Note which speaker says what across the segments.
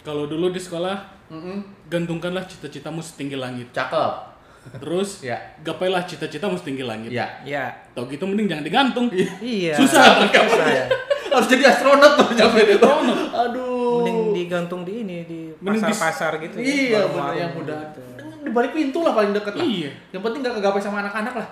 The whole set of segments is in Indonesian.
Speaker 1: kalau dulu di sekolah gantungkanlah cita-citamu setinggi langit.
Speaker 2: Cakep.
Speaker 1: Terus
Speaker 2: Ya.
Speaker 1: gapailah cita-citamu setinggi langit.
Speaker 2: Iya.
Speaker 3: Ya.
Speaker 1: Tau gitu mending jangan digantung.
Speaker 3: Iya.
Speaker 1: Susah.
Speaker 3: Susah
Speaker 2: Iya.
Speaker 3: ya.
Speaker 2: Harus jadi astronot tuh nyampe itu. Aduh.
Speaker 3: Mending digantung di ini di
Speaker 1: Mending di-
Speaker 3: pasar-pasar gitu.
Speaker 2: Iya, bener
Speaker 3: warung-warung
Speaker 2: yang mudah.
Speaker 3: gitu.
Speaker 2: Di balik pintu lah paling deket lah.
Speaker 1: Iya.
Speaker 2: Yang penting gak kegapai sama anak-anak lah.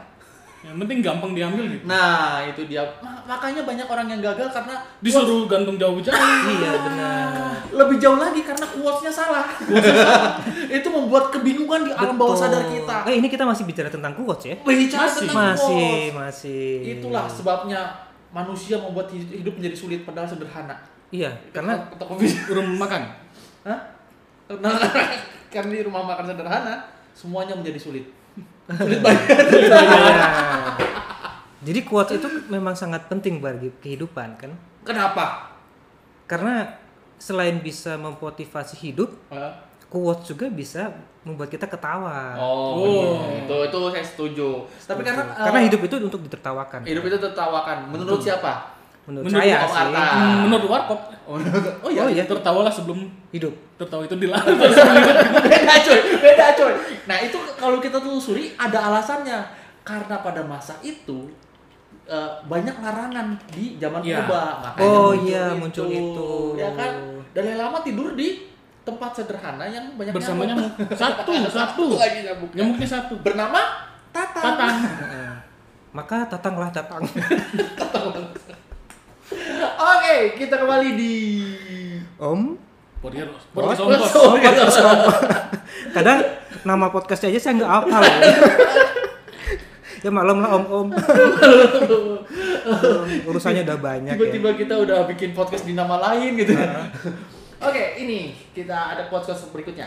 Speaker 1: Yang penting gampang diambil gitu.
Speaker 2: Nah, itu dia. Ma- Makanya banyak orang yang gagal karena ah,
Speaker 1: Disuruh gantung jauh-jauh.
Speaker 3: Iya benar.
Speaker 2: lebih jauh lagi karena quotes-nya salah. Quotes-nya salah. itu membuat kebingungan di alam bawah
Speaker 3: Betul.
Speaker 2: sadar kita.
Speaker 3: Eh ini kita masih bicara tentang quotes ya?
Speaker 2: Bicara
Speaker 1: Masih.
Speaker 2: tentang
Speaker 3: Masih,
Speaker 2: quotes.
Speaker 3: masih.
Speaker 2: Itulah sebabnya manusia membuat hid- hidup menjadi sulit padahal sederhana.
Speaker 3: Iya, karena
Speaker 2: Kita bisa
Speaker 1: Urung makan.
Speaker 2: Hah? Karena karena di rumah makan sederhana semuanya menjadi sulit. Sulit banget.
Speaker 3: Iya. Jadi quotes itu memang sangat penting bagi kehidupan kan?
Speaker 2: Kenapa?
Speaker 3: Karena selain bisa memotivasi hidup, quotes juga bisa membuat kita ketawa.
Speaker 2: Oh,
Speaker 1: Oh.
Speaker 2: bener. itu itu saya setuju. Tapi karena eh,
Speaker 3: Karena hidup itu untuk ditertawakan.
Speaker 2: hidup itu tertawakan. Menurut siapa?
Speaker 3: Menurut,
Speaker 1: Menurut
Speaker 2: Om
Speaker 3: saya sih.
Speaker 2: Arta.
Speaker 1: Hmm, Menurut warkop.
Speaker 2: Oh, menurut- oh
Speaker 3: Oh
Speaker 2: ya.
Speaker 3: iya.
Speaker 1: Tertawalah sebelum
Speaker 3: Hidup.
Speaker 1: tertawa itu dilarang.
Speaker 2: beda coy, beda coy. Nah itu kalau kita telusuri ada alasannya karena pada masa itu eh, banyak larangan di zaman
Speaker 1: Iya.
Speaker 2: purba makanya
Speaker 3: Oh iya, muncul itu.
Speaker 2: ya kan dari lama tidur di tempat sederhana yang banyak
Speaker 1: Bersama
Speaker 2: nyamuk.
Speaker 1: nyamuk. Satu, satu.
Speaker 2: lagi nyamuk
Speaker 1: Nyamuknya satu.
Speaker 2: bernama Tatang.
Speaker 1: Tatang.
Speaker 3: Heeh. Maka tatanglah datang.
Speaker 2: Oke, kita kembali di
Speaker 3: Om.
Speaker 1: Podcast podcast
Speaker 3: Bos.
Speaker 1: ongkos.
Speaker 2: Sorry.
Speaker 3: Kadang nama podcastnya aja saya nggak hafal. ya. ya maklum lah om-om. Urusannya udah banyak ya.
Speaker 2: Tiba-tiba kita udah bikin podcast di nama lain gitu. Oke, ini kita ada podcast berikutnya.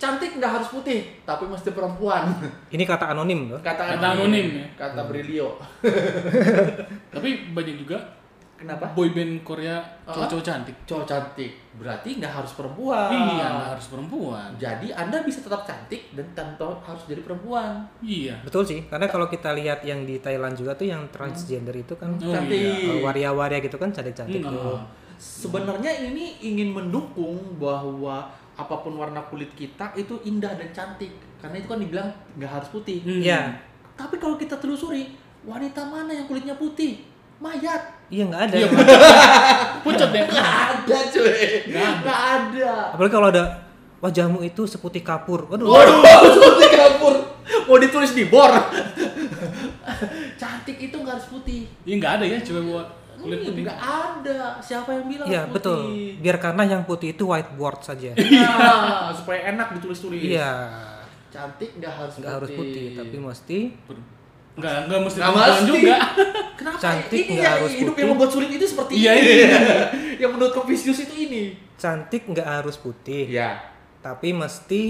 Speaker 2: Cantik nggak harus putih, tapi mesti perempuan.
Speaker 3: Ini kata anonim loh.
Speaker 2: Kata,
Speaker 1: Kata anonim ya.
Speaker 2: Kata Brilio.
Speaker 1: Tapi banyak juga
Speaker 2: Kenapa?
Speaker 1: boyband Korea cowok-cowok cantik.
Speaker 2: Cowok cantik berarti nggak harus perempuan.
Speaker 1: Iya, nggak harus perempuan.
Speaker 2: Jadi Anda bisa tetap cantik dan tanpa harus jadi perempuan.
Speaker 1: Iya.
Speaker 3: Betul sih, karena kalau kita lihat yang di Thailand juga tuh yang transgender itu kan
Speaker 1: Oh,
Speaker 2: cantik.
Speaker 3: eh, waria-waria gitu kan cantik-cantik.
Speaker 1: Hmm,
Speaker 3: tuh.
Speaker 1: ah.
Speaker 2: Sebenarnya ini ingin mendukung bahwa apapun warna kulit kita itu indah dan cantik. Karena itu kan dibilang nggak harus putih.
Speaker 1: Hmm.
Speaker 3: Iya,
Speaker 2: Tapi kalau kita telusuri, wanita mana yang kulitnya putih? Mayat.
Speaker 3: iya nggak ada.
Speaker 1: Iya,
Speaker 3: yang-
Speaker 1: Pucat deh.
Speaker 2: Nggak ada cuy.
Speaker 1: Nggak ada.
Speaker 2: Nggak ada.
Speaker 3: Apalagi kalau ada wajahmu itu seputih kapur. Waduh.
Speaker 2: Waduh, putih kapur. Mau ditulis di bor. Cantik itu nggak harus putih.
Speaker 1: Iya nggak ada ya cewek buat kulit
Speaker 2: Hmm,
Speaker 1: putih.
Speaker 2: Nggak ada. Siapa yang bilang
Speaker 3: Iya,
Speaker 2: harus
Speaker 3: betul.
Speaker 2: putih?
Speaker 3: Biar karena yang putih itu whiteboard saja.
Speaker 2: Nah, supaya enak ditulis-tulis.
Speaker 3: Iya,
Speaker 2: Cantik nggak harus
Speaker 3: nggak harus putih, tapi mesti
Speaker 1: Per- Nggak nggak mesti
Speaker 2: Nggak
Speaker 1: perempuan
Speaker 2: mesti.
Speaker 1: juga.
Speaker 2: Kenapa?
Speaker 3: Cantik
Speaker 2: ini
Speaker 3: nggak
Speaker 2: yang
Speaker 3: harus
Speaker 2: hidup
Speaker 3: putih.
Speaker 2: yang membuat sulit itu seperti
Speaker 1: Iya,
Speaker 2: ini.
Speaker 1: iya.
Speaker 2: yang menurut Confucius itu ini.
Speaker 3: cantik nggak harus putih,
Speaker 2: Iya.
Speaker 3: tapi mesti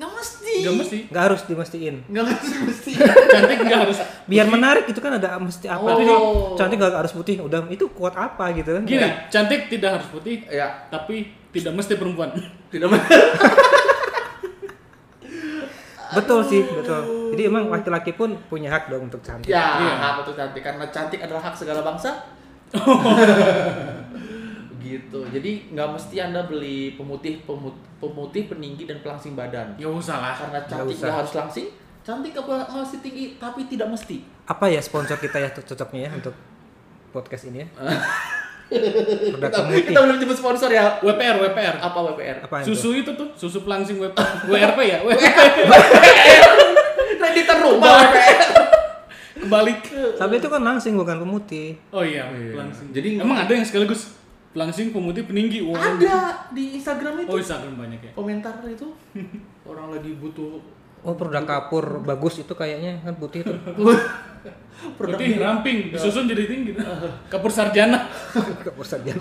Speaker 2: Nggak mesti.
Speaker 1: Nggak mesti.
Speaker 3: nggak harus dimestiin.
Speaker 2: Nggak mesti. mesti.
Speaker 1: Cantik nggak harus.
Speaker 3: Biar menarik itu kan ada mesti apa?
Speaker 2: Oh.
Speaker 3: Tapi kalau Cantik nggak harus putih, udah itu kuat apa gitu kan?
Speaker 1: Gini, cantik tidak harus putih,
Speaker 2: ya.
Speaker 1: tapi tidak mesti perempuan.
Speaker 2: Tidak mesti.
Speaker 3: Betul sih, betul. Jadi emang laki-laki pun punya hak dong untuk cantik.
Speaker 2: Ya,
Speaker 1: Iya.
Speaker 2: hak untuk cantik karena cantik adalah hak segala bangsa. Begitu. Gitu. Jadi nggak mesti Anda beli pemutih, pemut, pemutih, peninggi dan pelangsing badan.
Speaker 1: Ya usah lah.
Speaker 2: Karena cantik
Speaker 3: usah.
Speaker 2: nggak harus langsing, cantik apa masih tinggi tapi tidak mesti.
Speaker 3: Apa ya sponsor kita ya cocoknya ya untuk podcast ini ya? Produk
Speaker 2: Kita,
Speaker 3: pemutih.
Speaker 2: kita belum nyebut sponsor ya.
Speaker 1: WPR, WPR.
Speaker 2: Apa WPR?
Speaker 3: Apa itu?
Speaker 1: Susu itu tuh, susu pelangsing WP- WRP ya, WRP.
Speaker 2: Kreditan rumah WPR.
Speaker 1: Kebalik.
Speaker 3: Tapi itu kan langsing bukan pemutih.
Speaker 1: Oh iya, pelangsing.
Speaker 2: Jadi
Speaker 1: emang ada yang sekaligus pelangsing pemutih peninggi. Wow.
Speaker 2: Ada di Instagram itu.
Speaker 1: Oh, Instagram banyak ya.
Speaker 2: Komentar itu orang lagi butuh
Speaker 3: Oh produk kapur bagus itu kayaknya kan putih itu
Speaker 2: produk
Speaker 1: Putih ramping, disusun jadi tinggi. Kapur sarjana.
Speaker 3: nggak usah dia.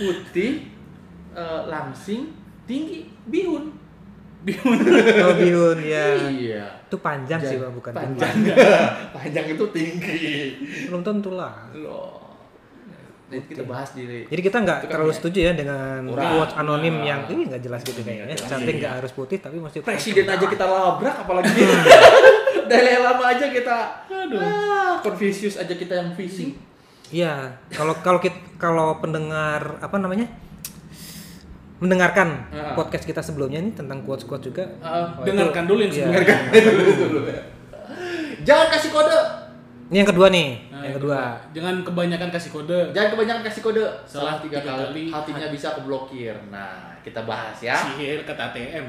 Speaker 2: putih, eh, langsing, tinggi, bihun.
Speaker 3: Oh bihun ya.
Speaker 2: Iya.
Speaker 3: Itu panjang sih pak bukan tinggi.
Speaker 2: panjang. panjang itu tinggi.
Speaker 3: Belum tentu lah.
Speaker 2: Loh. Nah, itu kita bahas di
Speaker 3: Jadi kita nggak
Speaker 2: Itu kan
Speaker 3: terlalu
Speaker 2: ya.
Speaker 3: setuju ya dengan
Speaker 2: Kurang.
Speaker 3: quotes anonim yang ini nggak jelas gitu kayaknya.
Speaker 2: jelas. Iya.
Speaker 3: Cantik nggak harus putih tapi mesti
Speaker 2: presiden aja kita labrak apalagi
Speaker 3: Hmm.
Speaker 2: Dalai Lama aja kita
Speaker 1: Aduh.
Speaker 2: ah, Confucius aja kita yang fishing
Speaker 3: Iya, kalau kalau kit- kalau pendengar apa namanya? mendengarkan
Speaker 2: Heeh.
Speaker 3: podcast kita sebelumnya ini tentang quotes-quotes juga.
Speaker 2: Heeh.
Speaker 3: Wah, itu-
Speaker 1: Dengarkan dulu yang
Speaker 3: Iya.
Speaker 1: sebelumnya. Nah,
Speaker 2: Jangan kasih kode.
Speaker 3: Ini yang kedua
Speaker 2: Ah,
Speaker 3: nih,
Speaker 1: Nah,
Speaker 3: yang kedua.
Speaker 1: Jangan kebanyakan kasih kode.
Speaker 2: Jangan kebanyakan kasih kode. Salah
Speaker 1: Salah
Speaker 2: tiga
Speaker 1: tiga
Speaker 2: kali,
Speaker 1: kali,
Speaker 2: hatinya bisa keblokir. Nah, kita bahas ya.
Speaker 1: Sihir kata ATM.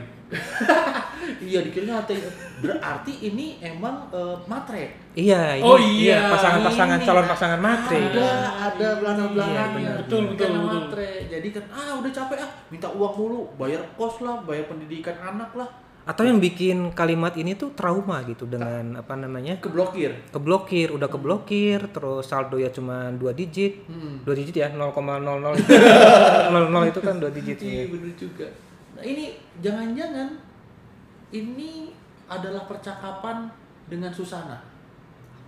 Speaker 2: Iya, dikiranya hati. Berarti ini emang eh, matre.
Speaker 3: Iya, ini,
Speaker 1: Oh iya,
Speaker 3: pasangan-pasangan
Speaker 1: ini.
Speaker 3: calon pasangan matre.
Speaker 2: Ada, ada belana-belana
Speaker 3: Iya, benar.
Speaker 1: Betul, betul, betul.
Speaker 2: matre. Jadi kan, ah udah capek ah, minta uang mulu, bayar kos lah, bayar pendidikan anak lah,
Speaker 3: Atau yang bikin kalimat ini tuh trauma gitu dengan apa namanya?
Speaker 2: keblokir.
Speaker 3: keblokir, udah keblokir, terus saldo ya cuma dua digit.
Speaker 2: Hmm.
Speaker 3: dua digit ya 0,00 itu 00 itu kan dua digit
Speaker 2: Iya
Speaker 3: ya.
Speaker 2: bener juga. Nah ini jangan-jangan ini adalah percakapan dengan Susana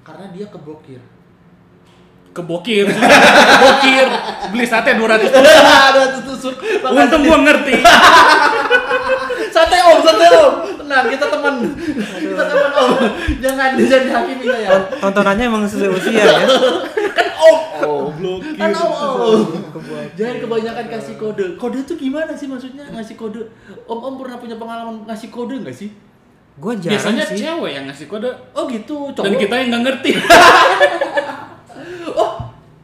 Speaker 2: karena dia keblokir.
Speaker 1: Kebokir. Kebokir. Beli sate 200 tusuk.
Speaker 2: Ada tusuk.
Speaker 1: Untung gua ngerti.
Speaker 2: Santai om, santai om. Tenang, kita teman. Kita teman om. Jangan jangan dihakimi ya. saya.
Speaker 3: tontonannya emang sesuai usia ya
Speaker 2: Kan om.
Speaker 1: Blokir.
Speaker 2: Kan om om.
Speaker 3: Kebuat.
Speaker 2: Jangan kebanyakan kasih kode. Kode tuh gimana sih maksudnya ngasih kode? Om om pernah punya pengalaman ngasih kode nggak sih?
Speaker 3: gua jarang
Speaker 1: Biasanya
Speaker 3: sih
Speaker 1: cewek yang ngasih kode
Speaker 2: Oh gitu.
Speaker 1: dan
Speaker 2: Cowok.
Speaker 1: kita yang nggak ngerti.
Speaker 2: Oh,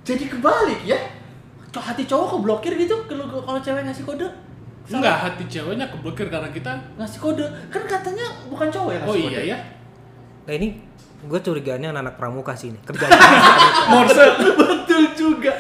Speaker 2: jadi kebalik ya? Kok Hati cowok keblokir gitu kalau kalau cewek ngasih kode?
Speaker 1: Enggak, hati ceweknya keblokir karena kita.
Speaker 2: Ngasih kode. Kan katanya bukan cowok yang
Speaker 1: Oh
Speaker 2: ngasih kode.
Speaker 1: iya ya.
Speaker 3: nah ini gua curiganya anak-anak pramuka sih ini kerjanya
Speaker 1: Morse.
Speaker 2: Betul juga.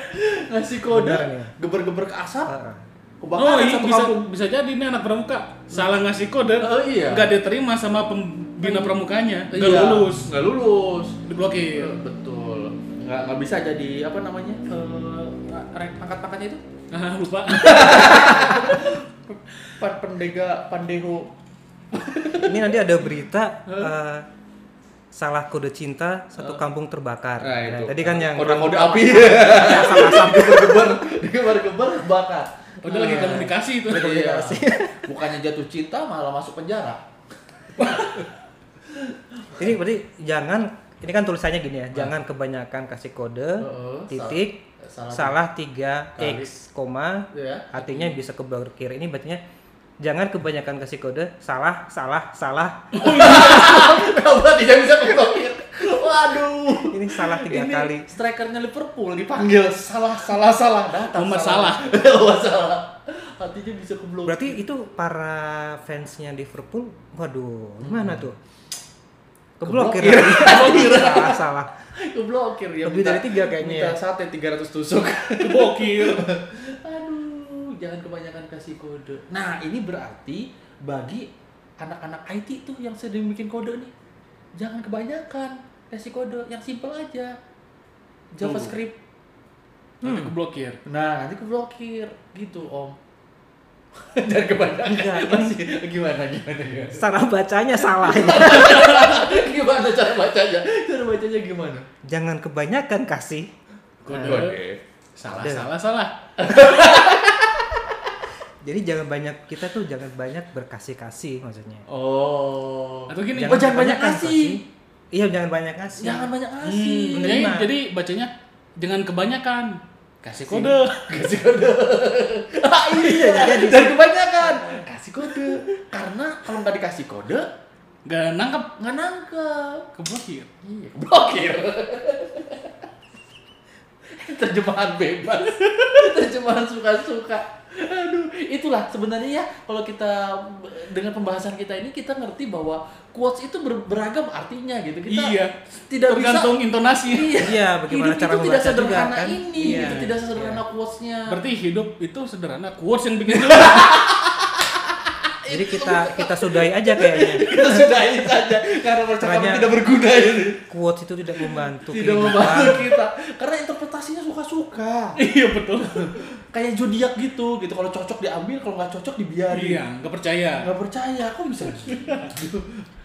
Speaker 2: Ngasih kode,
Speaker 3: Beneran ya?
Speaker 2: geber-geber ke asap,
Speaker 3: Heeh.
Speaker 1: Oh
Speaker 2: kebakaran
Speaker 1: iya,
Speaker 2: satu
Speaker 1: bisa,
Speaker 2: kampung.
Speaker 1: bisa jadi nih anak pramuka salah ngasih kode,
Speaker 2: Oh, iya.
Speaker 1: nggak diterima sama pembina pramukanya, nggak
Speaker 2: Iya,
Speaker 1: lulus,
Speaker 2: nggak lulus.
Speaker 1: diblokir.
Speaker 2: Iya, Betul. Nggak nggak bisa jadi apa namanya? eh, rank angkat-angkatnya itu?
Speaker 1: Ah, lupa.
Speaker 2: Pan- Pendega Pandeho.
Speaker 3: ini nanti ada berita eh, salah kode cinta satu kampung terbakar Nah, tadi kan yang
Speaker 2: kode-kode api.
Speaker 3: asam-asam
Speaker 2: Geber-geber, geber-geber bakar.
Speaker 1: Udah lagi komunikasi itu.
Speaker 2: Iya. Bukannya jatuh cinta malah masuk penjara.
Speaker 3: ini berarti jangan ini kan tulisannya gini ya jangan kebanyakan kasih kode
Speaker 2: Heeh.
Speaker 3: titik
Speaker 2: Salah-
Speaker 3: salah 3
Speaker 2: Kali.
Speaker 3: x koma
Speaker 2: Iya.
Speaker 3: artinya bisa keblokir ini bacanya jangan kebanyakan kasih kode salah salah salah
Speaker 2: Kenapa tidak bisa keblokir? Waduh.
Speaker 3: ini salah tiga
Speaker 2: Ini
Speaker 3: kali
Speaker 2: strikernya Liverpool dipanggil salah salah salah datang.
Speaker 1: Nomor
Speaker 2: Nomor salah. Hatinya bisa keblokir.
Speaker 3: berarti itu para fansnya Liverpool waduh gimana
Speaker 2: Hmm.
Speaker 3: tuh keblokir
Speaker 2: Keblokir.
Speaker 3: lagi.
Speaker 2: Iya.
Speaker 3: salah salah
Speaker 2: keblokir ya.
Speaker 3: Lebih
Speaker 2: minta-
Speaker 3: dari tiga kayaknya
Speaker 2: Minta
Speaker 3: ya.
Speaker 2: sate 300 tusuk.
Speaker 1: Kebokir.
Speaker 2: Aduh, jangan kebanyakan kasih kode. Nah, ini berarti bagi anak-anak IT tuh yang sering bikin kode nih, jangan kebanyakan kasih kode, yang simple aja. JavaScript. Hmm.
Speaker 1: Tapi keblokir.
Speaker 2: Nah, nanti keblokir gitu, Om. Iya, kan? jangan kebanyakan.
Speaker 3: Enggak,
Speaker 2: Masih, gimana gimana ya?
Speaker 3: cara bacanya salah
Speaker 2: gimana cara bacanya? Cara bacanya gimana?
Speaker 3: jangan kebanyakan kasih
Speaker 1: Kode. Salah, salah, salah.
Speaker 3: jadi jangan banyak kita tuh jangan banyak berkasih kasih maksudnya
Speaker 2: Oh.
Speaker 1: Atau gini.
Speaker 2: Oh, jangan banyak
Speaker 3: kebanyakan
Speaker 2: kasih.
Speaker 3: iya jangan banyak kasih
Speaker 2: Jangan banyak kasih.
Speaker 3: Hmm.
Speaker 1: Jadi,
Speaker 3: menerima.
Speaker 1: jadi bacanya jangan kebanyakan. Kasih kode.
Speaker 2: kasih kode ah, iya jadi dan kebanyakan kasih kode karena kalau nggak dikasih kode
Speaker 1: Nggak nangkep.
Speaker 2: nggak nangkep
Speaker 1: Keblokir.
Speaker 2: iya blokir terjemahan bebas terjemahan suka-suka aduh itulah sebenarnya ya kalau kita dengan pembahasan kita ini kita ngerti bahwa quotes itu ber- beragam artinya gitu kita
Speaker 1: Iya.
Speaker 2: tidak bisa
Speaker 1: Tergantung intonasi.
Speaker 2: iya,
Speaker 3: Iya,
Speaker 2: hidup
Speaker 3: bagaimana cara
Speaker 2: itu tidak
Speaker 3: membaca juga,
Speaker 2: sederhana
Speaker 3: kan?
Speaker 2: ini
Speaker 3: Iya,
Speaker 2: gitu, tidak sederhana quotes-nya
Speaker 1: Berarti hidup itu sederhana. Quotes yang bikin hidup.
Speaker 3: jadi kita kita sudahi aja kayaknya
Speaker 2: kita sudahi saja karena percakapan
Speaker 3: Banyak.
Speaker 2: tidak berguna ini
Speaker 3: quotes itu tidak membantu
Speaker 2: tidak
Speaker 3: kehidupan.
Speaker 2: membantu kita karena interpretasinya suka-suka
Speaker 1: iya betul.
Speaker 2: kayak zodiak gitu gitu kalau cocok diambil kalau nggak cocok dibiarin
Speaker 1: Iya, nggak percaya.
Speaker 2: nggak percaya kok bisa gitu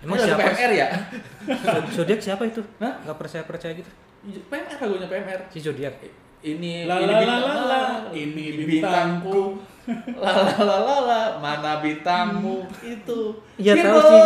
Speaker 3: Emang
Speaker 2: Ini lagu
Speaker 3: siapa?
Speaker 2: PMR ya
Speaker 3: zodiak siapa itu
Speaker 2: Hah?
Speaker 3: nggak percaya percaya gitu
Speaker 2: PMR lagunya PMR
Speaker 3: si zodiak
Speaker 2: ini
Speaker 1: La,
Speaker 2: ini
Speaker 1: la,
Speaker 2: bintang-
Speaker 1: la, la, la. Ini bintangku.
Speaker 2: la la la la la mana bintangmu itu Gitu.
Speaker 3: Iya tahu
Speaker 2: Virgo.
Speaker 3: sih,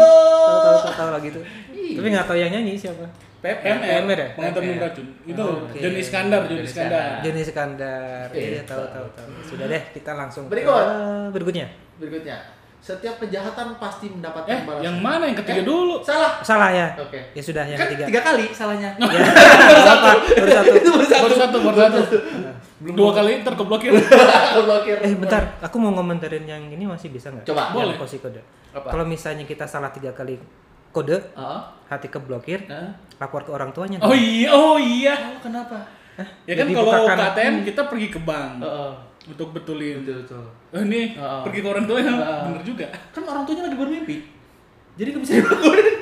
Speaker 3: tahu tahu tahu, tahu lagi itu.
Speaker 2: Iya.
Speaker 3: Tapi nggak tahu yang nyanyi siapa.
Speaker 2: PPM.
Speaker 1: PMR,
Speaker 3: ya?
Speaker 1: pengantar minum
Speaker 3: PMR.
Speaker 1: racun. Itu
Speaker 3: Oh, oke.
Speaker 1: John Iskandar, John
Speaker 2: John
Speaker 1: Iskandar.
Speaker 2: Iskandar.
Speaker 3: Johnny Iskandar.
Speaker 2: Iya,
Speaker 3: Iya, tahu tahu tahu. Sudah deh, kita langsung ke
Speaker 2: Berikut.
Speaker 3: berikutnya.
Speaker 2: Berikutnya, setiap kejahatan pasti mendapatkan
Speaker 1: Eh,
Speaker 2: balasan.
Speaker 1: yang mana yang ketiga
Speaker 2: Eh,
Speaker 1: dulu?
Speaker 2: Salah.
Speaker 3: Salah ya.
Speaker 2: Oke.
Speaker 3: Ya sudah yang
Speaker 2: kan
Speaker 3: ketiga.
Speaker 2: tiga kali salahnya.
Speaker 3: Ya. Baru satu. Baru satu.
Speaker 2: Itu baru satu.
Speaker 1: Baru satu, baru satu. Belum dua kali terkeblokir.
Speaker 2: Blokir.
Speaker 3: Eh bentar, aku mau ngomentarin yang ini masih bisa nggak?
Speaker 2: Coba.
Speaker 3: Yang
Speaker 1: Boleh.
Speaker 3: kosi kode.
Speaker 2: Apa?
Speaker 3: Kalau misalnya kita salah tiga kali kode,
Speaker 2: Heeh.
Speaker 3: hati keblokir,
Speaker 2: Heeh.
Speaker 3: lapor ke orang tuanya.
Speaker 1: Oh iya, oh iya.
Speaker 2: Oh, kenapa?
Speaker 1: Ya kan
Speaker 3: Jadi
Speaker 1: kalau
Speaker 3: bukakan-
Speaker 1: KTM kita pergi ke bank
Speaker 2: Heeh.
Speaker 1: untuk betulin.
Speaker 2: Oh. Betul betul.
Speaker 1: Eh nih,
Speaker 2: Heeh.
Speaker 1: pergi ke orang tua ya.
Speaker 2: Heeh.
Speaker 1: Bener juga.
Speaker 2: Kan orang tuanya lagi bermimpi. Jadi nggak bisa dibangunin.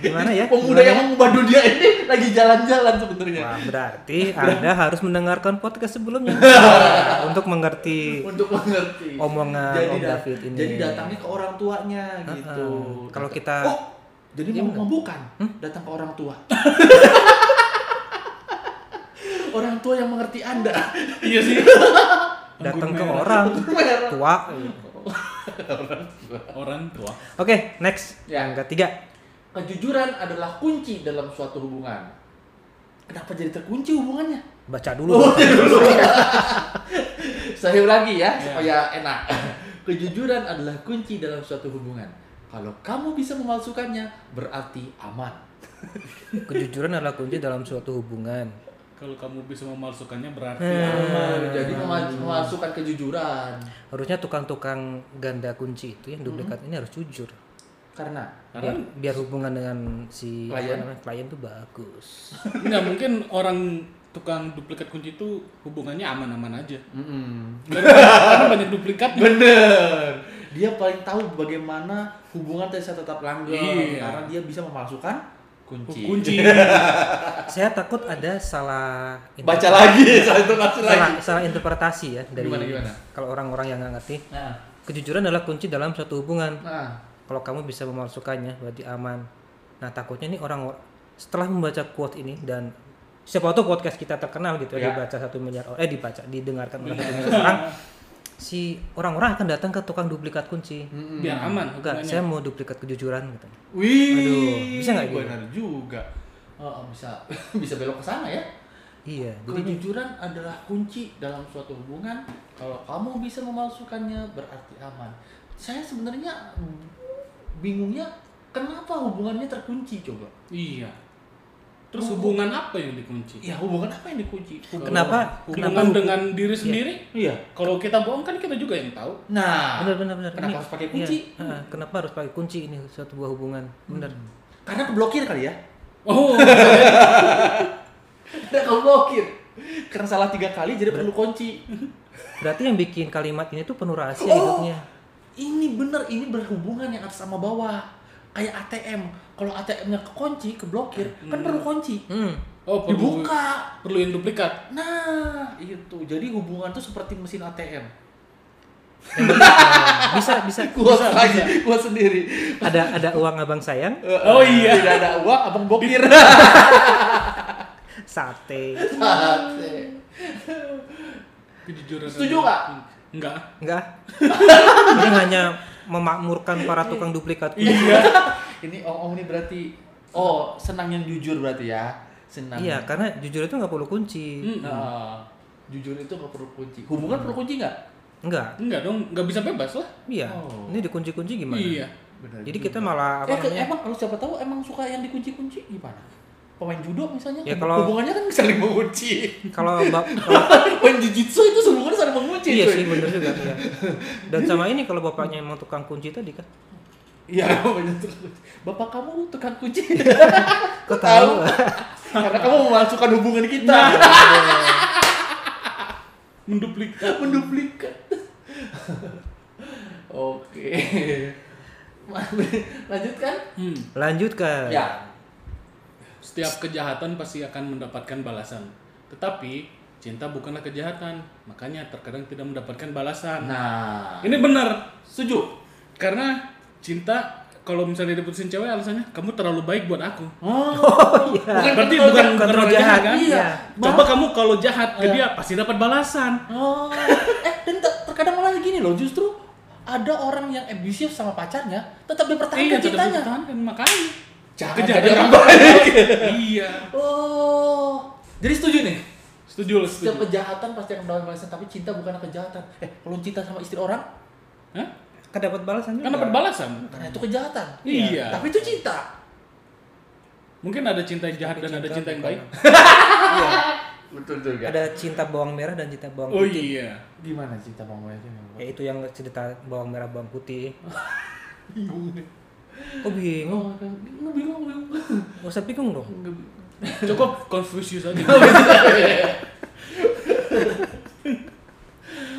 Speaker 3: Gimana ya?
Speaker 2: Iya. Pemuda Oh,
Speaker 3: Gimana
Speaker 2: yang mengubah dunia ini lagi jalan-jalan sebenarnya.
Speaker 3: Wah, berarti Anda harus mendengarkan podcast sebelumnya untuk mengerti
Speaker 2: Untuk mengerti.
Speaker 3: Omongan Om
Speaker 2: dat-
Speaker 3: David ini.
Speaker 2: Jadi datangnya ke orang tuanya gitu.
Speaker 3: Heeh. Kalau kita-
Speaker 2: Oh, jadi
Speaker 3: Iya,
Speaker 2: mau
Speaker 3: enggak?
Speaker 2: bukan datang ke orang tua. orang tua yang mengerti Anda.
Speaker 1: Iya sih.
Speaker 3: datang
Speaker 1: Anggur
Speaker 3: ke
Speaker 1: merah.
Speaker 3: orang
Speaker 2: Merah.
Speaker 3: tua.
Speaker 1: Orang tua.
Speaker 3: Oke, next.
Speaker 2: Ya.
Speaker 3: Yang ketiga.
Speaker 2: Kejujuran adalah kunci dalam suatu hubungan. Kenapa jadi terkunci hubungannya?
Speaker 3: Baca
Speaker 2: Oh,
Speaker 3: dulu.
Speaker 2: dulu. Saya lagi ya, supaya enak. Kejujuran adalah kunci dalam suatu hubungan. Kalau kamu bisa memalsukannya, berarti aman.
Speaker 3: Kejujuran adalah kunci dalam suatu hubungan.
Speaker 1: Kalau kamu bisa memalsukannya berarti
Speaker 2: Eh.
Speaker 1: ya.
Speaker 3: Hmm.
Speaker 2: Aman. Jadi memal- memalsukan kejujuran.
Speaker 3: Harusnya tukang-tukang ganda kunci itu
Speaker 2: Hmm.
Speaker 3: yang duplikat ini harus jujur.
Speaker 2: Karena
Speaker 3: Biar,
Speaker 1: Karena-
Speaker 3: biar hubungan dengan si apa
Speaker 2: Ah. Klien.
Speaker 3: namanya, klien tuh bagus.
Speaker 1: nggak mungkin orang tukang duplikat kunci itu hubungannya aman-aman aja.
Speaker 2: Mm-mm.
Speaker 1: Karena- Karena banyak duplikat.
Speaker 2: Bener. Dia paling tahu bagaimana hubungan tadi saya tetap langgeng
Speaker 1: Iya.
Speaker 2: karena dia bisa memalsukan kunci.
Speaker 1: Kunci. Hmm.
Speaker 3: Saya takut ada salah
Speaker 2: Baca lagi, salah itu masuk
Speaker 3: salah,
Speaker 2: lagi.
Speaker 3: salah interpretasi ya dari
Speaker 2: Gimana, gimana?
Speaker 3: kalau orang-orang yang nggak ngerti.
Speaker 2: Nah,
Speaker 3: Kejujuran adalah kunci dalam suatu hubungan.
Speaker 2: nah,
Speaker 3: Kalau kamu bisa memalsukannya, berarti aman. Nah, takutnya ini orang setelah membaca quote ini dan siapa tahu podcast kita terkenal
Speaker 2: Ya.
Speaker 3: gitu ya,
Speaker 2: Iya.
Speaker 3: dibaca satu miliar orang- eh dibaca didengarkan oleh satu miliar orang si orang-orang akan datang ke tukang duplikat kunci
Speaker 2: Mm-mm.
Speaker 1: Biar aman
Speaker 3: enggak
Speaker 1: hubungannya.
Speaker 3: saya mau duplikat kejujuran gitu
Speaker 2: Hmm. Wih,
Speaker 3: Aduh, bisa nggak gitu?
Speaker 2: Benar juga. Oh, bisa bisa belok ke sana ya.
Speaker 3: iya jadi
Speaker 2: Kejujuran adalah kunci dalam suatu hubungan. Kalau kamu bisa memalsukannya berarti aman. Saya sebenarnya bingungnya kenapa hubungannya terkunci coba?
Speaker 1: Iya. Terus hubungan apa yang dikunci?
Speaker 2: Ya hubungan apa yang dikunci? Hubungan-
Speaker 3: kenapa
Speaker 2: Oh,
Speaker 3: kenapa
Speaker 1: Hubungan dengan diri sendiri?
Speaker 2: Iya.
Speaker 1: Kalau kita bohong kan kita juga yang tahu.
Speaker 2: Nah,
Speaker 3: benar benar benar
Speaker 2: Kenapa
Speaker 3: Ini-
Speaker 2: harus pakai
Speaker 3: iya,
Speaker 2: kunci? Hmm.
Speaker 3: heeh, kenapa harus pakai kunci ini suatu buah hubungan benar
Speaker 2: karena keblokir kali ya.
Speaker 1: Oh,
Speaker 2: Karena keblokir. Karena salah tiga kali jadi perlu kunci.
Speaker 3: berarti yang bikin kalimat ini tuh penuh rahasia
Speaker 2: Oh.
Speaker 3: hidupnya
Speaker 2: Ini bener, ini berhubungan yang atas sama bawah. Kayak ATM. Kalau ATM-nya kekunci, keblokir, kan perlu kunci.
Speaker 3: Hmm.
Speaker 1: oh perlu
Speaker 2: Dibuka.
Speaker 1: perlu yang duplikat.
Speaker 2: Ya Nah, itu. Jadi hubungan tuh seperti mesin ATM.
Speaker 3: bisa bisa
Speaker 2: Gua lagi, gua sendiri.
Speaker 3: ada ada uang abang sayang
Speaker 1: Oh iya.
Speaker 2: Tidak ada uang, abang bokir.
Speaker 3: sate
Speaker 1: Kejujuran.
Speaker 2: Setuju
Speaker 1: adalah
Speaker 2: nggak?
Speaker 1: kunci. Enggak.
Speaker 3: Enggak. Ini hanya memakmurkan para tukang duplikat kunci.
Speaker 1: Iya.
Speaker 2: ini om-om ini berarti oh, senang yang jujur berarti ya. Senang.
Speaker 3: Iya, karena jujur itu nggak perlu kunci.
Speaker 1: Hmm.
Speaker 2: Nah, jujur itu nggak perlu kunci. Hubungan perlu kunci nggak?
Speaker 3: Enggak.
Speaker 1: Enggak dong, enggak bisa bebas lah.
Speaker 3: Iya.
Speaker 2: Oh.
Speaker 3: Ini dikunci-kunci gimana?
Speaker 1: Iya.
Speaker 2: Benar.
Speaker 3: Jadi kita malah apa
Speaker 2: eh, ke-
Speaker 3: namanya?
Speaker 2: emang kalau siapa tahu emang suka yang dikunci-kunci gimana? Pemain judo misalnya,
Speaker 3: Ya, kalau-
Speaker 2: hubungannya kan saling mengunci.
Speaker 3: Kalau bab kalau-
Speaker 2: Pemain jujitsu itu hubungannya saling mengunci.
Speaker 3: iya
Speaker 2: cuy.
Speaker 3: sih bener juga. Iya. Dan sama ini kalau bapaknya emang tukang kunci tadi kan.
Speaker 2: Iya, banyak tukang kunci. Bapak kamu tukang kunci.
Speaker 3: Kok tahu?
Speaker 2: Karena kamu memasukkan hubungan
Speaker 3: Iya,
Speaker 2: kita.
Speaker 1: Nah. Menduplikat.
Speaker 2: Menduplikat. Oke. Lanjutkan?
Speaker 1: Hmm.
Speaker 3: Lanjutkan.
Speaker 2: Ya.
Speaker 1: Setiap kejahatan pasti akan mendapatkan balasan. Tetapi cinta bukanlah kejahatan, makanya terkadang tidak mendapatkan balasan.
Speaker 2: Nah,
Speaker 1: Ini benar.
Speaker 2: setuju.
Speaker 1: Karena cinta kalau misalnya diputusin cewek alasannya kamu terlalu baik buat aku.
Speaker 2: Oh,
Speaker 1: Bukan berarti
Speaker 2: betul,
Speaker 1: bukan
Speaker 3: bukan
Speaker 1: karena
Speaker 3: terlalu
Speaker 1: jahat
Speaker 3: jahat,
Speaker 1: kan?
Speaker 3: iya.
Speaker 1: Coba kamu kalau jahat ke dia pasti dapat balasan.
Speaker 2: Oh, eh dan ter- terkadang malah gini loh, justru ada orang yang abusive sama pacarnya tetap dipertahankan
Speaker 1: Iya, tetap
Speaker 2: cintanya.
Speaker 1: dipertahankan makanya.
Speaker 2: Jangan
Speaker 1: Kejahatan
Speaker 2: jadi orang baik.
Speaker 1: iya.
Speaker 2: Oh. Jadi setuju nih.
Speaker 1: Setuju lu
Speaker 2: Setiap
Speaker 1: setuju.
Speaker 2: kejahatan pasti akan mendapatkan balasan, tapi cinta bukanlah kejahatan. Eh, kalau cinta sama istri orang,
Speaker 1: Hah?
Speaker 3: Kan dapat balasan juga.
Speaker 1: Kan dapat balasan.
Speaker 2: karena Nah, itu kejahatan.
Speaker 1: Iya.
Speaker 2: Tapi itu cinta.
Speaker 1: Mungkin ada cinta yang jahat dan ada cinta yang baik.
Speaker 2: Betul betul
Speaker 3: Ada cinta bawang merah dan cinta bawang
Speaker 1: Oh
Speaker 3: putih.
Speaker 1: iya.
Speaker 2: Gimana cinta Bang Boy itu? Bang Boy?
Speaker 3: Ya itu yang cerita bawang merah bawang putih. Kok bingung?
Speaker 2: Bingung, bingung, bingung, bingung.
Speaker 3: Gak usah bingung dong.
Speaker 1: Cukup Confucius aja.
Speaker 2: Eh,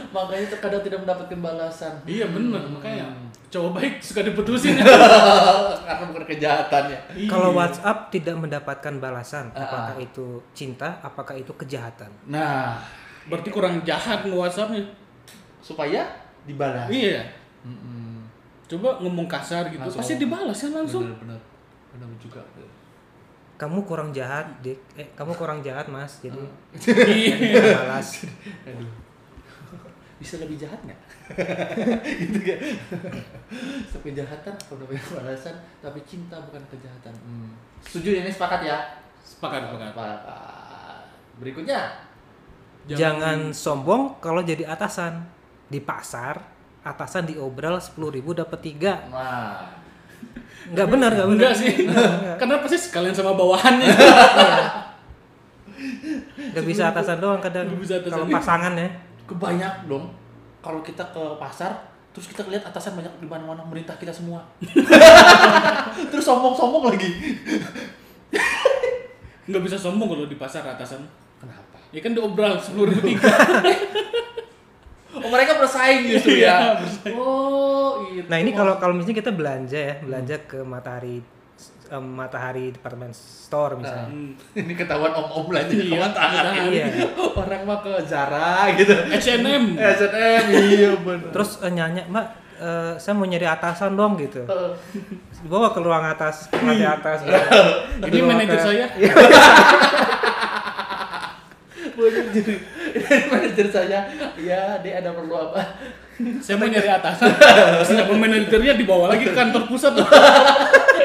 Speaker 2: Makanya terkadang tidak mendapatkan balasan.
Speaker 1: iya bener makanya. Cowok baik suka diputusin.
Speaker 2: Karena bukan kejahatan ya.
Speaker 3: Kalau
Speaker 1: Iya.
Speaker 3: WhatsApp tidak mendapatkan balasan,
Speaker 2: Ah, ah.
Speaker 3: apakah itu cinta, apakah itu kejahatan?
Speaker 2: Nah,
Speaker 1: Berarti kurang jahat nge WhatsAppnya.
Speaker 2: supaya dibalas.
Speaker 1: Iya.
Speaker 2: Mm-mm.
Speaker 1: Coba ngomong kasar gitu.
Speaker 2: Langsung.
Speaker 1: Pasti dibalas kan langsung.
Speaker 2: Benar, benar. Benar juga.
Speaker 3: Kamu kurang jahat, Dik. Eh, kamu kurang jahat, Mas. Jadi
Speaker 1: Iya.
Speaker 3: balas.
Speaker 2: Aduh. Bisa lebih jahat nggak? gitu kan. Setiap kejahatan atau mendapatkan balasan, tapi cinta bukan kejahatan. Hmm. Setuju ya, ini sepakat ya?
Speaker 1: Sepakat sepakat.
Speaker 2: Sepakat. Berikutnya.
Speaker 3: Jangan sombong kalau jadi atasan. Di pasar, atasan diobral 10.000 dapat 3.
Speaker 2: Nah,
Speaker 3: Enggak benar, enggak benar.
Speaker 1: Enggak sih. Karena pasti sekalian sama bawahannya.
Speaker 3: Enggak bisa atasan doang kadang.
Speaker 1: Nggak bisa atasan.
Speaker 3: Kalau pasangan ya.
Speaker 2: kebanyak dong kalau kita ke pasar terus kita lihat atasan banyak di mana-mana merintah kita semua terus sombong-sombong lagi
Speaker 1: Enggak bisa sombong kalau di pasar atasan.
Speaker 2: kenapa
Speaker 1: Ya kan diobral 10.000
Speaker 2: oh mereka bersaing gitu ya
Speaker 1: Iya,
Speaker 2: oh itu
Speaker 3: Nah, ini kalau kalau misalnya kita belanja ya, belanja ke Matahari eh, Matahari Department Store misalnya.
Speaker 2: Nah, ini ketahuan om-om belanja di
Speaker 1: Hmm. Iya,
Speaker 2: matahari
Speaker 3: iya.
Speaker 2: orang mah ke Zara gitu
Speaker 1: H&M.
Speaker 2: S&M iya benar
Speaker 3: Terus eh, nyanyi, "Mbak, eh, saya mau nyari atasan dong gitu. Bawa ke ruang atas, ke lantai atas.
Speaker 1: Hmm. Ini manajer saya.
Speaker 2: manajer manajer saya ya dia ada perlu apa
Speaker 1: Saya mau nyari atasan. Siapa manajernya dibawa lagi ke kantor pusat.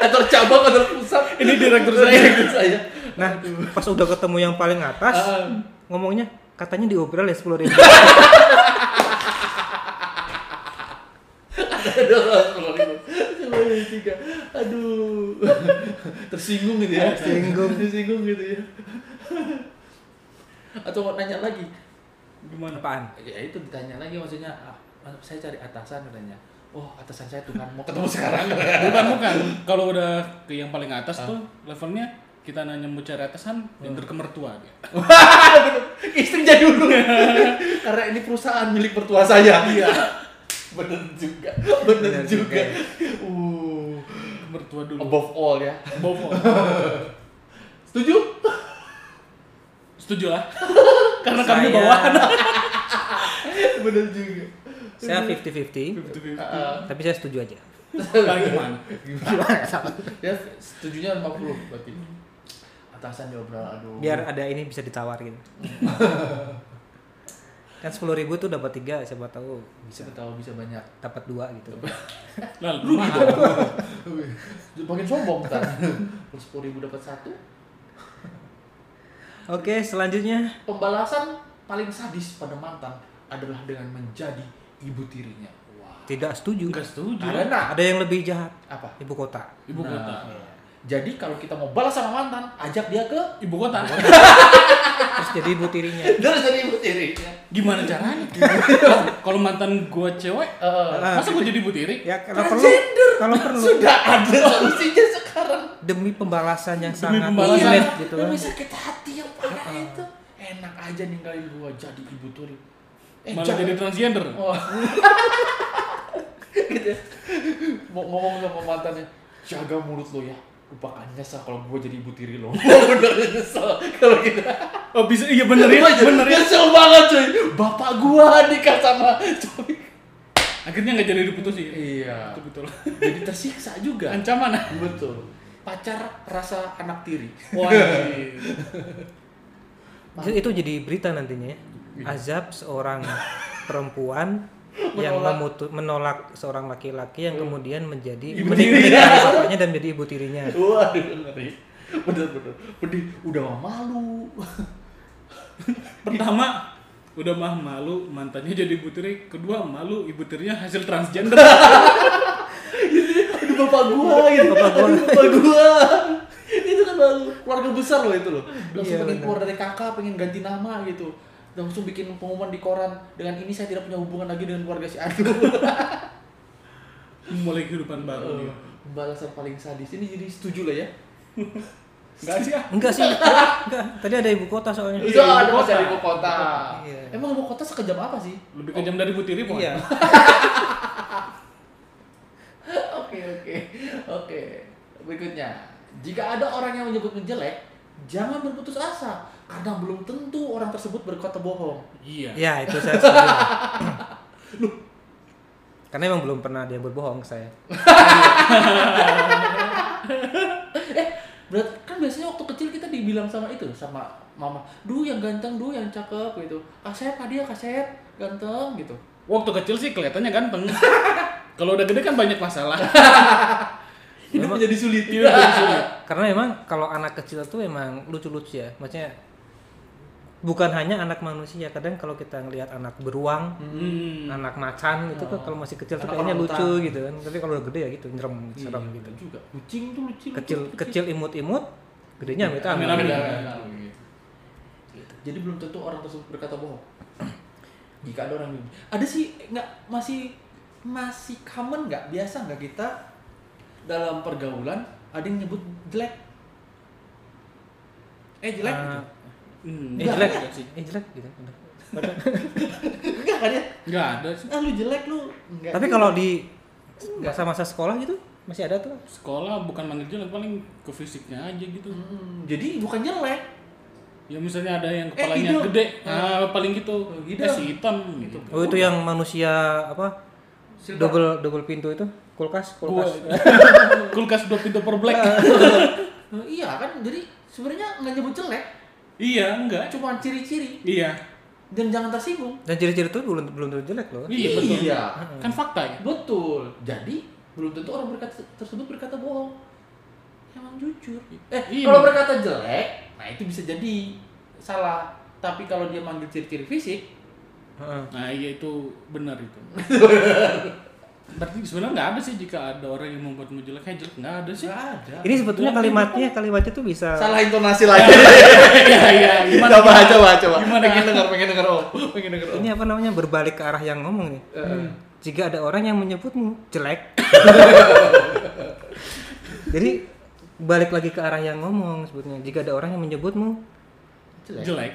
Speaker 2: atau cabang atau pusat
Speaker 1: Ini direktur saya.
Speaker 2: direktur saya
Speaker 3: Nah, pas udah ketemu yang paling atas,
Speaker 1: Ah.
Speaker 3: ngomongnya katanya diobrol ya sepuluh ribu.
Speaker 2: Aduh, Semuanya tiga. Aduh. Tersinggung gitu ya.
Speaker 3: Tersinggung.
Speaker 2: Tersinggung gitu ya. Atau mau nanya lagi?
Speaker 1: Gimana?
Speaker 3: Apaan?
Speaker 2: Ya itu ditanya lagi maksudnya ah, saya cari atasan katanya. Oh, atasan saya Tuhan mau ketemu sekarang.
Speaker 1: Bukan bukan. Kalau udah ke yang paling atas tuh levelnya kita nanya mau cari atasan, pinter ke mertua dia.
Speaker 2: Istri jadi dulu. Karena ini perusahaan milik mertua saya. Iya. Bener juga. Bener,
Speaker 3: Bener
Speaker 2: juga.
Speaker 3: juga.
Speaker 2: Uh,
Speaker 1: Ke mertua dulu.
Speaker 2: above all ya.
Speaker 1: Bobo.
Speaker 2: Setuju?
Speaker 1: Setuju lah. Karena kami
Speaker 3: Saya-
Speaker 1: bawahan.
Speaker 2: Bener juga.
Speaker 3: Saya 50-50, tapi saya setuju aja.
Speaker 1: Bagaimana?
Speaker 2: ya setujunya 50 berarti atasan diobrol
Speaker 1: Oh.
Speaker 2: aduh
Speaker 3: Biar ada ini bisa ditawarin. kan sepuluh ribu tuh dapat tiga, siapa tahu
Speaker 2: bisa tahu bisa banyak
Speaker 3: dapat dua gitu.
Speaker 1: Lalu rugi dong.
Speaker 2: makin sombong kan terus sepuluh ribu dapat satu
Speaker 3: Oke, selanjutnya
Speaker 2: pembalasan paling sadis pada mantan adalah dengan menjadi ibu tirinya wah
Speaker 3: tidak setuju.
Speaker 1: Enggak setuju.
Speaker 2: karena
Speaker 3: Ada yang lebih jahat,
Speaker 2: apa
Speaker 3: ibu kota.
Speaker 1: Ibu
Speaker 2: Nah,
Speaker 1: kota.
Speaker 2: iya. jadi kalau kita mau balas sama mantan ajak dia ke
Speaker 1: Ibu kota.
Speaker 3: Terus jadi ibu tirinya.
Speaker 2: terus jadi ibu tirinya
Speaker 1: Gimana caranya? Kalau mantan gua cewek,
Speaker 2: Eh,
Speaker 1: masa gua jadi butiri?
Speaker 3: Ya kalau perlu, kalau perlu
Speaker 2: sudah ada solusinya sekarang
Speaker 3: demi pembalasan yang
Speaker 1: Demi
Speaker 3: sangat
Speaker 1: pembalasan.
Speaker 3: irit gitu kan.
Speaker 2: Iya. Lebih sakit hati yang parah itu. Enak aja ninggalin gua jadi ibu tiri. Eh,
Speaker 1: Malah
Speaker 2: jangan.
Speaker 1: jadi transgender.
Speaker 2: Oh. gitu ya. Mau ngomong sama mantannya, jaga mulut lo ya. Lu bakal nyesel kalau gua jadi ibu tiri lo. Gua bener nyesel kalau kita.
Speaker 1: Oh bisa, iya bener ya,
Speaker 2: Gua jadi-
Speaker 1: bener ya.
Speaker 2: Nyesel banget cuy. Bapak gua nikah sama cowok.
Speaker 1: Akhirnya nggak jadi diputusin.
Speaker 2: Iya.
Speaker 1: Betul betul.
Speaker 2: Jadi tersiksa juga.
Speaker 1: Ancaman. ah.
Speaker 2: Betul. Pacar rasa anak tiri.
Speaker 1: Wah. anjir.
Speaker 2: Iya.
Speaker 3: Itu, itu jadi berita nantinya. ya. Azab seorang perempuan yang
Speaker 2: Menolak. Iya.
Speaker 3: memutu- menolak seorang laki-laki yang kemudian menjadi
Speaker 2: Ibu
Speaker 3: menikahi
Speaker 2: tirinya.
Speaker 3: bapaknya dan menjadi ibu tirinya.
Speaker 2: Waduh, ngeri. Bener-bener. Pedih. Udah mah malu.
Speaker 1: Pertama, udah mah malu mantannya jadi ibu tiri. Kedua, malu ibu tirinya hasil transgender.
Speaker 2: Aduh bapak gua gitu.
Speaker 3: Bapak gua.
Speaker 2: Aduh bapak gua. itu kan baru keluarga besar loh itu loh. Langsung
Speaker 3: Iya,
Speaker 2: pengen
Speaker 3: bener.
Speaker 2: keluar dari kakak, pengen ganti nama gitu. Langsung bikin pengumuman di koran. Dengan ini saya tidak punya hubungan lagi dengan keluarga si Anu.
Speaker 1: Mulai kehidupan baru dia.
Speaker 2: balasan Oh, paling sadis ini jadi setuju lah ya
Speaker 1: Enggak sih ah. Iya,
Speaker 3: Enggak sih. Enggak. Tadi ada ibu kota soalnya.
Speaker 2: itu ada
Speaker 1: ibu kota.
Speaker 2: masih ada ibu kota
Speaker 3: Iya.
Speaker 2: emang ibu kota sekejam apa sih
Speaker 1: Lebih kejam dari ibu tiri, Pon.
Speaker 3: Iya.
Speaker 2: oke oke oke berikutnya jika ada orang yang menyebutmu jelek jangan berputus asa karena belum tentu orang tersebut berkata bohong
Speaker 1: Iya.
Speaker 3: Ya, itu saya setuju. Karena emang belum pernah dia berbohong ke saya.
Speaker 2: eh berat kan biasanya waktu kecil kita dibilang sama itu sama mama duh yang ganteng duh yang cakep gitu kasep ah dia kasep ganteng gitu
Speaker 1: Waktu kecil sih kelihatannya ganteng. Kalau udah gede kan banyak masalah.
Speaker 2: hidup
Speaker 3: Memang-
Speaker 2: menjadi sulit
Speaker 1: Iya, jadi sulit.
Speaker 3: Karena emang kalau anak kecil tuh emang lucu-lucu ya. Maksudnya bukan hanya anak manusia, kadang kalau kita ngelihat anak beruang,
Speaker 1: Hmm.
Speaker 3: anak macan gitu kan kalau masih kecil tuh
Speaker 2: Oh. Anak
Speaker 3: kayaknya
Speaker 2: orang
Speaker 3: lucu
Speaker 2: hutan. Iya.
Speaker 3: gitu kan. Tapi kalau udah gede ya gitu nyerem, serem gitu.
Speaker 2: Bener juga kucing tuh lucu
Speaker 3: Kecil kecil imut-imut, gedenya amit
Speaker 2: Iya.
Speaker 1: Amin,
Speaker 3: amit.
Speaker 1: amin.
Speaker 2: Gitu. Jadi belum tentu orang tersebut berkata bohong. Jika ada orang ada sih nggak masih masih common nggak biasa nggak kita dalam pergaulan ada yang nyebut jelek. Eh jelek gitu.
Speaker 3: Ah,
Speaker 1: Hmm.
Speaker 3: eh
Speaker 2: Enggak,
Speaker 3: jelek,
Speaker 1: enggak sih.
Speaker 3: eh jelek gitu.
Speaker 2: Iya. Enggak kan ya?
Speaker 1: Enggak ada sih.
Speaker 2: Ah, lu jelek lu. Enggak.
Speaker 3: Tapi kalau di masa-masa sekolah gitu masih ada tuh.
Speaker 1: Sekolah bukan manggil jelek paling ke fisiknya aja gitu.
Speaker 2: Hmm, jadi bukan jelek.
Speaker 1: Ya misalnya ada yang kepalanya
Speaker 2: hidung.
Speaker 1: gede, ah, paling gitu.
Speaker 2: Hidung.
Speaker 1: Eh, si hitam gitu.
Speaker 3: Oh itu yang manusia apa?
Speaker 2: Silver.
Speaker 3: Double double pintu itu kulkas
Speaker 1: Gua-
Speaker 3: kulkas.
Speaker 1: kulkas dua pintu per black.
Speaker 2: Eh, iya kan jadi sebenarnya nggak nyebut jelek,
Speaker 1: iya, enggak.
Speaker 2: cuma ciri-ciri
Speaker 1: Iya.
Speaker 2: dan jangan tersinggung.
Speaker 3: Dan ciri-ciri itu belum belum tentu jelek loh.
Speaker 1: Iya, betul.
Speaker 2: Iya.
Speaker 1: Kan fakta ya.
Speaker 2: Betul. Jadi belum tentu orang berkata, tersebut berkata bohong. Emang jujur. Eh,
Speaker 1: Iya.
Speaker 2: kalau berkata jelek, nah itu bisa jadi salah. Tapi kalau dia manggil ciri-ciri fisik,
Speaker 3: Heeh.
Speaker 1: Nah, iya itu benar itu. Berarti sebenarnya nggak ada sih jika ada orang yang membuatmu jelek, kayak jelek nggak ada sih.
Speaker 2: nggak ada.
Speaker 3: Ini sebetulnya kalimatnya kalimatnya tuh bisa
Speaker 2: salah intonasi lagi.
Speaker 1: Iya, iya. Gimana?
Speaker 2: coba, coba, coba.
Speaker 1: Gimana?
Speaker 2: Pengen dengar, pengen dengar, oh. Pengen dengar, oh.
Speaker 3: ini apa namanya berbalik ke arah yang ngomong nih. Hmm. Jika ada orang yang menyebutmu jelek. Jadi balik lagi ke arah yang ngomong sebetulnya. Jika ada orang yang menyebutmu
Speaker 2: Jelek.
Speaker 1: Jelek.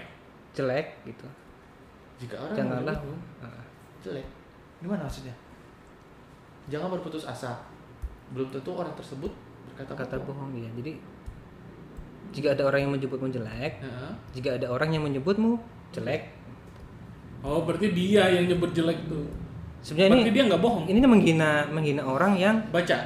Speaker 3: jelek gitu.
Speaker 2: Jika orang
Speaker 3: Janganlah.
Speaker 2: menyebut
Speaker 3: Heeh.
Speaker 2: jelek. Gimana maksudnya? Jangan berputus asa. Belum tentu orang tersebut berkata
Speaker 3: kata bohong ya. Jadi jika ada orang yang menyebutmu jelek,
Speaker 2: Heeh.
Speaker 3: jika ada orang yang menyebutmu jelek,
Speaker 1: Oh, berarti dia yang nyebut jelek tuh. Berarti
Speaker 3: sebenarnya
Speaker 1: dia nggak bohong.
Speaker 3: ini ini menghina menghina orang yang
Speaker 1: Baca.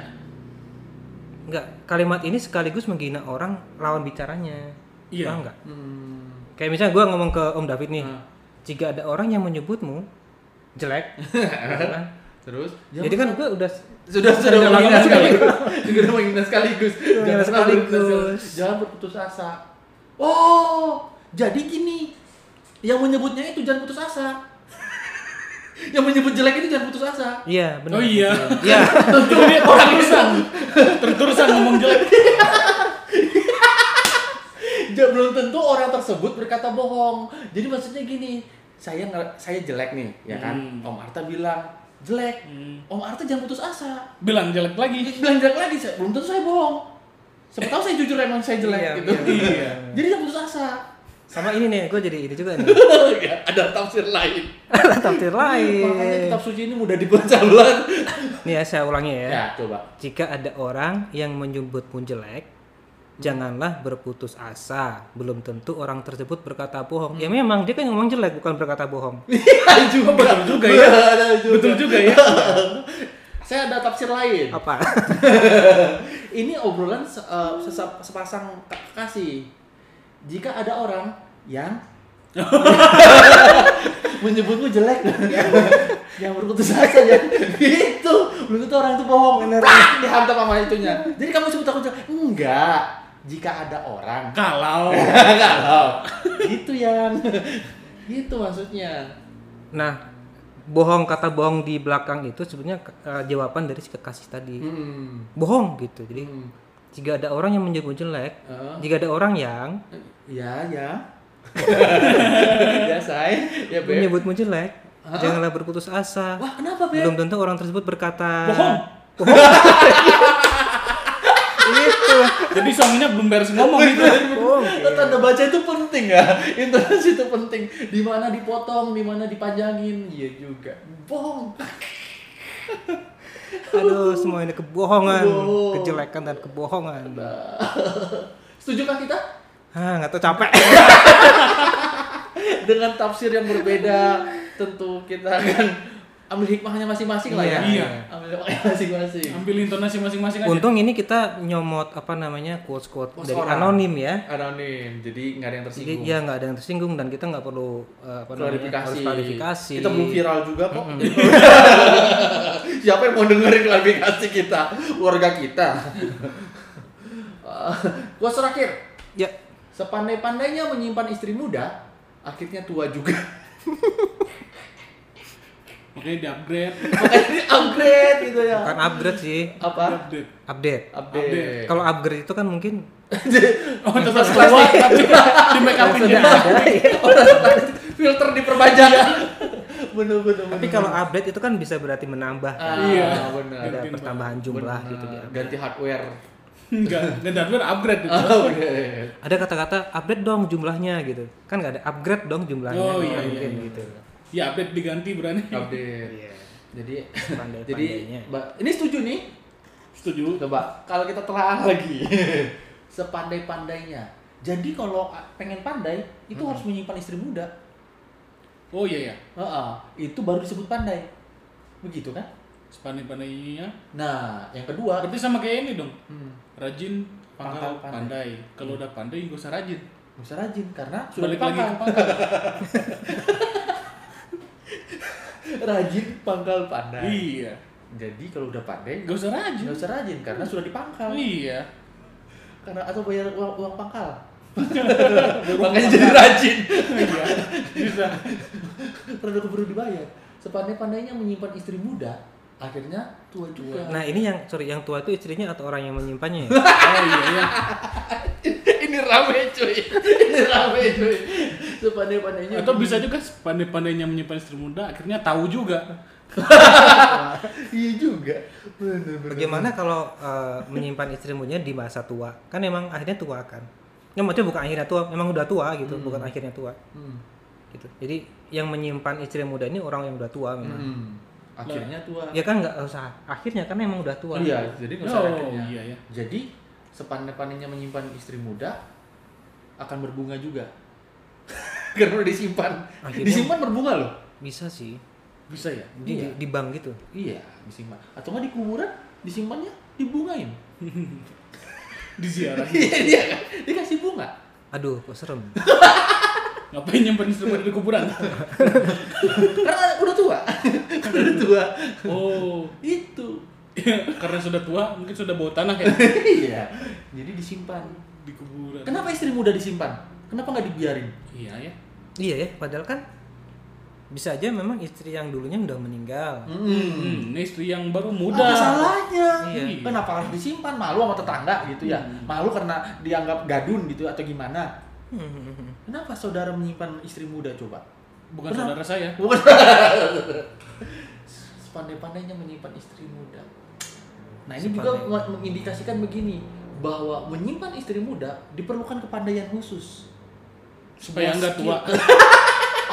Speaker 3: Enggak, kalimat ini sekaligus menghina orang lawan bicaranya.
Speaker 1: Iya.
Speaker 3: Paham nggak?
Speaker 2: Hmm.
Speaker 3: Kayak misalnya gue ngomong ke Om David nih,
Speaker 1: Nah.
Speaker 3: jika ada orang yang menyebutmu jelek, gitu kan?
Speaker 2: Terus?
Speaker 3: jadi kan gue udah
Speaker 2: sudah sudah
Speaker 3: Jangan
Speaker 2: menghina
Speaker 3: lakukan
Speaker 2: sekaligus sudah menghina sekaligus jangan
Speaker 3: menghina
Speaker 2: sekaligus
Speaker 3: sekaligus.
Speaker 2: jangan berputus asa oh jadi gini yang menyebutnya itu jangan putus asa yang menyebut jelek itu jangan putus asa
Speaker 3: iya benar.
Speaker 1: Oh iya.
Speaker 3: Iya.
Speaker 1: Itu dia terus-terusan. Terus-terusan ngomong jelek.
Speaker 2: Ja- belum tentu orang tersebut berkata bohong jadi maksudnya gini saya nge- saya jelek nih ya kan
Speaker 1: Hmm.
Speaker 2: om Arta bilang jelek
Speaker 1: Hmm.
Speaker 2: om Arta jangan putus asa
Speaker 1: Bilang jelek lagi.
Speaker 2: bilang jelek lagi saya belum tentu saya bohong Siapa tahu saya jujur emang saya jelek
Speaker 3: Iya,
Speaker 2: gitu
Speaker 1: iya.
Speaker 2: jadi jangan putus asa
Speaker 3: Sama ini nih, gue jadi ini juga nih.
Speaker 2: Ya, ada tafsir lain.
Speaker 3: Ada tafsir
Speaker 2: Iya,
Speaker 1: Iya.
Speaker 2: Makanya
Speaker 3: lain.
Speaker 2: kitab suci ini mudah dibaca banget.
Speaker 3: Nih ya, saya ulangi ya.
Speaker 2: Ya, coba.
Speaker 3: Jika ada orang yang menyebutmu jelek, janganlah berputus asa. Belum tentu orang tersebut berkata bohong. Ya memang dia kan ngomong jelek bukan berkata bohong.
Speaker 2: Hmm. Iya juga.
Speaker 1: betul juga ya.
Speaker 2: Ada Iya, juga.
Speaker 1: Betul juga ya.
Speaker 2: Saya ada tafsir lain.
Speaker 3: Apa?
Speaker 2: Ini obrolan se- eh, sesa- sepasang k- kekasih. Jika ada orang yang menyebutmu jelek, jangan berputus asa ya itu belum tentu orang itu bohong Tak, dihantam sama itunya jadi kamu sebut aku jelek enggak jika ada orang
Speaker 1: Kalau
Speaker 2: kalau gitu yang gitu maksudnya
Speaker 3: Nah, bohong kata bohong di belakang itu sebenarnya eh, jawaban dari si kekasih tadi.
Speaker 2: hmm.
Speaker 3: Bohong gitu. Jadi
Speaker 2: Hmm.
Speaker 3: jika ada orang yang menyebut jelek,
Speaker 2: Eh,
Speaker 3: jika ada orang yang
Speaker 2: ya ya ya say ya beb
Speaker 3: menyebutmu jelek, janganlah berputus asa.
Speaker 2: wah kenapa beb
Speaker 3: Belum tentu orang tersebut berkata
Speaker 1: bohong. Gitu.
Speaker 3: Itu.
Speaker 1: Jadi suaminya belum beres ngomong gitu.
Speaker 3: bohong.
Speaker 2: Nah, tanda baca itu penting ya intonasi itu penting di mana dipotong di mana dipanjangin iya juga bohong
Speaker 3: Aduh, semua ini kebohongan,
Speaker 2: Bohong.
Speaker 3: kejelekan dan kebohongan.
Speaker 2: nah. setujukah kita
Speaker 3: Hah, Ah, nggak tahu capek.
Speaker 2: dengan tafsir yang berbeda tentu kita akan ambil hikmahnya masing-masing lah ya
Speaker 1: Iya.
Speaker 2: ambil hikmahnya masing-masing
Speaker 1: Ambil intonasi masing-masing aja.
Speaker 3: Untung ini kita nyomot apa namanya quotes quote
Speaker 2: Quotes
Speaker 3: dari
Speaker 2: orang.
Speaker 3: anonim ya.
Speaker 2: anonim jadi nggak ada yang
Speaker 3: Jadi
Speaker 2: tersinggung
Speaker 3: ya nggak ada yang tersinggung dan kita nggak perlu eh, apa namanya,
Speaker 2: klarifikasi.
Speaker 3: harus klarifikasi.
Speaker 2: Kita belum viral juga kok. Siapa yang mau dengerin klarifikasi kita? Warga kita. Eh, Quotes terakhir.
Speaker 3: Ya,
Speaker 2: Sepandai-pandainya menyimpan istri muda, akhirnya tua juga.
Speaker 1: Makanya di upgrade.
Speaker 2: Makanya ini upgrade gitu ya.
Speaker 3: bukan upgrade sih,
Speaker 2: Apa?
Speaker 1: Update.
Speaker 3: update.
Speaker 2: Update.
Speaker 3: Kalau upgrade itu kan mungkin
Speaker 1: Oh, tetap keluar tapi di make up
Speaker 3: sudah ada. ya.
Speaker 2: Filter diperbanyak. Bener-bener.
Speaker 3: Tapi kalau update itu kan bisa berarti menambah
Speaker 2: Ah,
Speaker 3: kan?
Speaker 1: Iya.
Speaker 2: benar.
Speaker 3: ada
Speaker 1: Gantiin
Speaker 3: pertambahan jumlah gitu di update.
Speaker 2: Ganti hardware.
Speaker 1: Enggak, enggak hardware upgrade itu.
Speaker 2: Upgrade.
Speaker 3: Ada kata-kata update dong jumlahnya gitu. Kan nggak ada upgrade dong jumlahnya.
Speaker 1: Oh,
Speaker 3: Nggak
Speaker 1: iya, iya,
Speaker 3: mungkin
Speaker 1: iya.
Speaker 3: gitu.
Speaker 1: Ya update diganti berani.
Speaker 2: Update.
Speaker 3: Iya.
Speaker 2: Jadi jadi
Speaker 3: Pandai-pandainya.
Speaker 2: Mbak, ini setuju nih.
Speaker 1: Setuju.
Speaker 2: Coba kalau kita telah lagi sepandai-pandainya. Jadi kalau a- pengen pandai itu harus menyimpan istri muda.
Speaker 1: Oh iya ya.
Speaker 2: Heeh, itu baru disebut pandai. Begitu kan?
Speaker 1: Sepandai-pandainya. iya.
Speaker 2: Nah, yang kedua
Speaker 1: Berarti sama kayak ini dong.
Speaker 2: hmm,
Speaker 1: Rajin, pangkal,
Speaker 2: Pangkal, pandai.
Speaker 1: pandai. Kalau udah pandai, gak usah rajin.
Speaker 2: bisa rajin karena sudah
Speaker 1: Balik lagi
Speaker 2: dipangkal.
Speaker 1: ke pangkal.
Speaker 2: Rajin pangkal pandai.
Speaker 1: Iya.
Speaker 2: Jadi kalau udah pandai
Speaker 1: Gak usah rajin.
Speaker 2: Nah. nggak usah rajin karena sudah dipangkal.
Speaker 1: Iya.
Speaker 2: Karena atau bayar uang, Hmm. uang pangkal. Makanya jadi rajin.
Speaker 1: Iya. Bisa.
Speaker 2: Karena keburu dibayar. Sepandai-pandainya menyimpan istri muda, akhirnya tua juga.
Speaker 3: Nah ini yang sorry yang tua itu istrinya atau orang yang menyimpannya ya?
Speaker 1: Oh iya ya.
Speaker 2: ini rame cuy ini rame cuy sepandai-pandainya
Speaker 1: Atau bisa juga pandai-pandainya menyimpan istri muda, akhirnya tahu juga.
Speaker 2: iya juga bener bener
Speaker 3: Bagaimana kalau eh, menyimpan istri mudanya di masa tua? Kan emang akhirnya tua kan? Ya maksudnya bukan akhirnya tua, emang udah tua gitu, bukan akhirnya tua.
Speaker 2: hmm.
Speaker 3: Gitu. Jadi yang menyimpan istri muda ini orang yang udah tua memang.
Speaker 2: Hmm. akhirnya tua
Speaker 3: Ya kan nggak usah akhirnya karena emang udah tua.
Speaker 2: iya jadi nggak usah ada
Speaker 1: Oh,
Speaker 2: akhirnya.
Speaker 1: iya ya.
Speaker 2: jadi sepandai-pandainya menyimpan istri muda akan berbunga juga karena udah disimpan
Speaker 3: Akhirnya-
Speaker 2: disimpan berbunga loh
Speaker 3: Bisa sih
Speaker 2: bisa ya
Speaker 3: di,
Speaker 2: iya
Speaker 3: di bank gitu.
Speaker 2: iya disimpan atau nggak di kuburan disimpannya dibungain
Speaker 1: Di ziarah.
Speaker 2: iya dia kan dikasih bunga
Speaker 3: Aduh, kok serem.
Speaker 1: Ngapain nyimpan istri muda di kuburan?
Speaker 2: karena udah tua udah tua
Speaker 1: Oh. iya.
Speaker 2: itu
Speaker 1: Karena sudah tua, mungkin sudah bau tanah ya
Speaker 2: iya jadi disimpan
Speaker 1: di kuburan.
Speaker 2: kenapa istri muda disimpan kenapa nggak dibiarin
Speaker 1: Iya ya.
Speaker 3: iya ya, padahal kan bisa aja memang istri yang dulunya udah meninggal.
Speaker 1: Hmm, ini istri yang baru muda.
Speaker 2: Ada salahnya
Speaker 3: Iya.
Speaker 2: kenapa harus disimpan malu sama tetangga gitu ya malu karena dianggap gadun gitu atau gimana
Speaker 3: Hmm.
Speaker 2: kenapa saudara menyimpan istri muda coba
Speaker 1: Bukan saudara saya.
Speaker 2: Bukan. sepandai-pandainya menyimpan istri muda nah ini juga
Speaker 3: Sepandai.
Speaker 2: mengindikasikan begini bahwa menyimpan istri muda diperlukan kepandaian khusus
Speaker 1: Supaya
Speaker 2: Sebuah
Speaker 1: nggak
Speaker 2: skill.
Speaker 1: tua.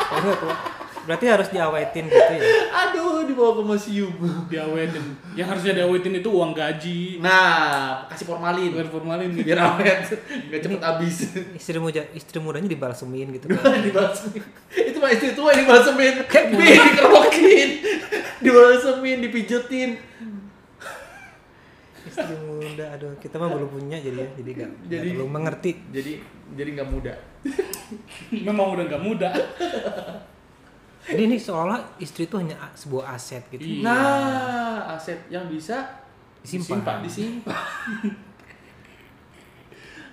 Speaker 3: Kalau nggak tua, Berarti harus diawetin gitu ya.
Speaker 2: aduh dibawa ke museum
Speaker 1: diawetin. Yang harusnya diawetin itu uang gaji.
Speaker 2: nah kasih formalin
Speaker 1: Bukan formalin gitu.
Speaker 2: biar awet nggak cepet habis
Speaker 3: Istri muda istri mudanya dibalsemin gitu.
Speaker 2: dibalsemin itu mah istri tua yang dibalsemin Bi, dikerokin dibalsemin dipijetin
Speaker 3: istri muda aduh kita mah belum punya jadi ya jadi gak, jadi,
Speaker 2: Jadi-
Speaker 3: belum mengerti
Speaker 2: jadi jadi nggak muda
Speaker 1: Memang udah nggak muda.
Speaker 3: Jadi ini seolah istri itu hanya a- sebuah aset gitu.
Speaker 1: Iya.
Speaker 2: Nah, aset yang bisa
Speaker 3: Disimpan.
Speaker 2: disimpan.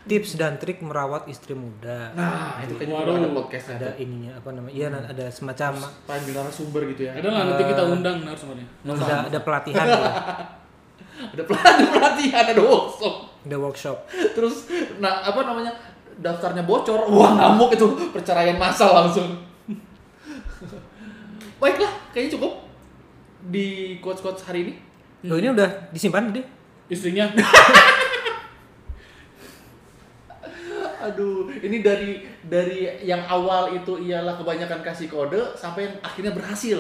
Speaker 3: Tips dan trik merawat istri muda.
Speaker 2: Nah, itu kan juga
Speaker 1: Waduh.
Speaker 2: ada podcast ada
Speaker 3: Ada ininya apa namanya? Iya, ada semacam
Speaker 2: panggil narasumber gitu ya.
Speaker 1: Ada lah nanti kita undang narasumbernya.
Speaker 3: ada, ada pelatihan gitu.
Speaker 2: Ada pelatih pelatihan ada workshop.
Speaker 3: Ada workshop.
Speaker 2: Terus nah apa namanya? daftarnya bocor. Wah, ngamuk itu perceraian massal langsung. Baiklah, kayaknya cukup di quotes-quotes hari ini.
Speaker 3: Loh ini udah disimpan deh.
Speaker 1: Istrinya
Speaker 2: Aduh, ini dari dari yang awal itu ialah kebanyakan kasih kode sampai yang akhirnya berhasil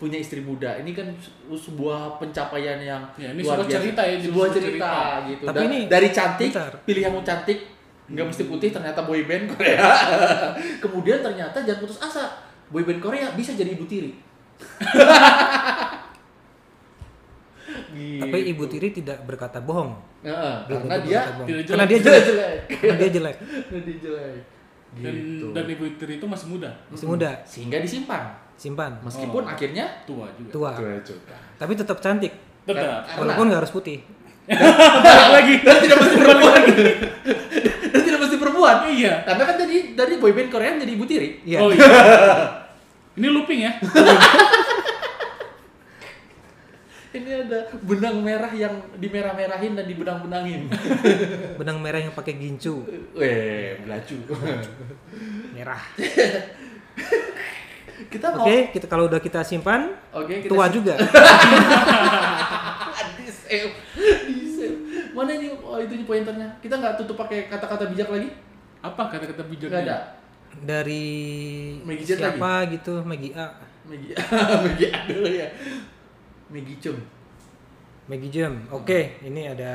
Speaker 2: punya istri muda. Ini kan se- sebuah pencapaian yang
Speaker 1: Ya, ini sebuah cerita ya, jadi
Speaker 2: sebuah
Speaker 1: sebuah
Speaker 2: cerita,
Speaker 1: cerita.
Speaker 2: gitu.
Speaker 3: Tapi
Speaker 2: Dan
Speaker 3: ini-
Speaker 2: dari cantik,
Speaker 3: bentar.
Speaker 2: pilih yang mau cantik, nggak mesti putih ternyata boyband Korea. Kemudian ternyata jangan putus asa. Boyband Korea bisa jadi ibu tiri. Gitu. Iya.
Speaker 3: Tapi ibu tiri tidak berkata bohong.
Speaker 2: Heeh,
Speaker 3: Belum
Speaker 2: karena
Speaker 3: tentu
Speaker 2: dia
Speaker 3: berkata bohong.
Speaker 1: tidak
Speaker 3: Karena dia
Speaker 1: jelek.
Speaker 3: jelek.
Speaker 2: jelek.
Speaker 3: Karena dia jelek.
Speaker 2: Karena dia jelek.
Speaker 1: dan
Speaker 2: Gitu.
Speaker 1: dan ibu tiri itu masih muda,
Speaker 3: Masih muda,
Speaker 2: sehingga disimpan
Speaker 3: simpan.
Speaker 2: meskipun
Speaker 1: Oh.
Speaker 2: akhirnya
Speaker 1: tua juga.
Speaker 3: Tua. Tapi tetap cantik.
Speaker 2: Kan,
Speaker 1: Tetap.
Speaker 3: Walaupun nggak harus putih.
Speaker 1: lagi.
Speaker 2: dan tidak mesti perempuan Kan dan tidak mesti perempuan
Speaker 1: Iya.
Speaker 2: karena kan tadi dari boyband Korea jadi ibu tiri
Speaker 3: Iya.
Speaker 1: Oh iya. Ini looping ya.
Speaker 2: ini ada benang merah yang dimerah-merahin dan dibenang-benangin
Speaker 3: Benang merah yang pakai gincu.
Speaker 2: weh belacu
Speaker 3: Merah.
Speaker 2: kita
Speaker 3: Oke,
Speaker 2: mau oke
Speaker 3: kita kalau udah kita simpan,
Speaker 2: Oh. kita
Speaker 3: tua juga.
Speaker 2: di save di save mana ini oh, itunya pointernya kita nggak tutup pakai kata-kata bijak lagi
Speaker 1: Apa kata-kata bijaknya?
Speaker 2: nggak ada
Speaker 3: Dari
Speaker 2: Maggie Jet
Speaker 3: siapa gitu, Maggie A,
Speaker 2: Megi Megi ada ya Megi Chung
Speaker 3: Maggie Jam. Oke, ini ada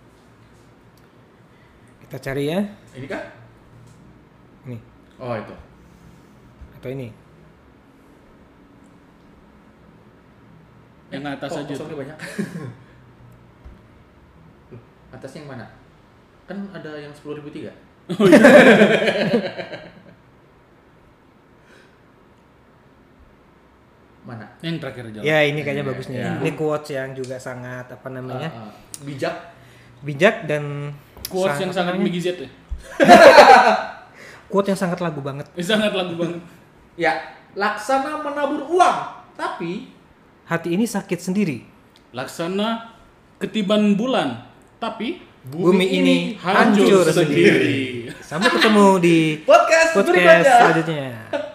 Speaker 3: kita cari ya.
Speaker 2: ini kan
Speaker 3: Nih,
Speaker 2: oh itu
Speaker 3: atau ini.
Speaker 1: Yang atas
Speaker 2: Oh,
Speaker 1: aja.
Speaker 2: kosongnya banyak. Loh, atasnya yang mana? Kan ada yang 10.003.
Speaker 1: Oh, iya.
Speaker 2: mana?
Speaker 1: Yang terakhir aja.
Speaker 3: Ya, ini kayaknya bagus nih.
Speaker 2: Ya.
Speaker 3: Ini quotes yang juga sangat apa namanya?
Speaker 2: Ah, ah. bijak.
Speaker 3: bijak dan
Speaker 1: Quotes
Speaker 3: sang-
Speaker 1: yang sangat Migi Z ya.
Speaker 3: quote yang sangat lagu banget.
Speaker 1: Eh, Sangat lagu banget.
Speaker 2: Ya, laksana menabur uang, tapi
Speaker 3: Hati ini sakit sendiri.
Speaker 1: Laksana ketiban bulan, tapi
Speaker 3: Bumi ini
Speaker 1: hancur
Speaker 3: Hancur
Speaker 1: sendiri.
Speaker 3: Sampai ketemu di
Speaker 2: podcast,
Speaker 3: podcast
Speaker 2: berikutnya.
Speaker 3: selanjutnya.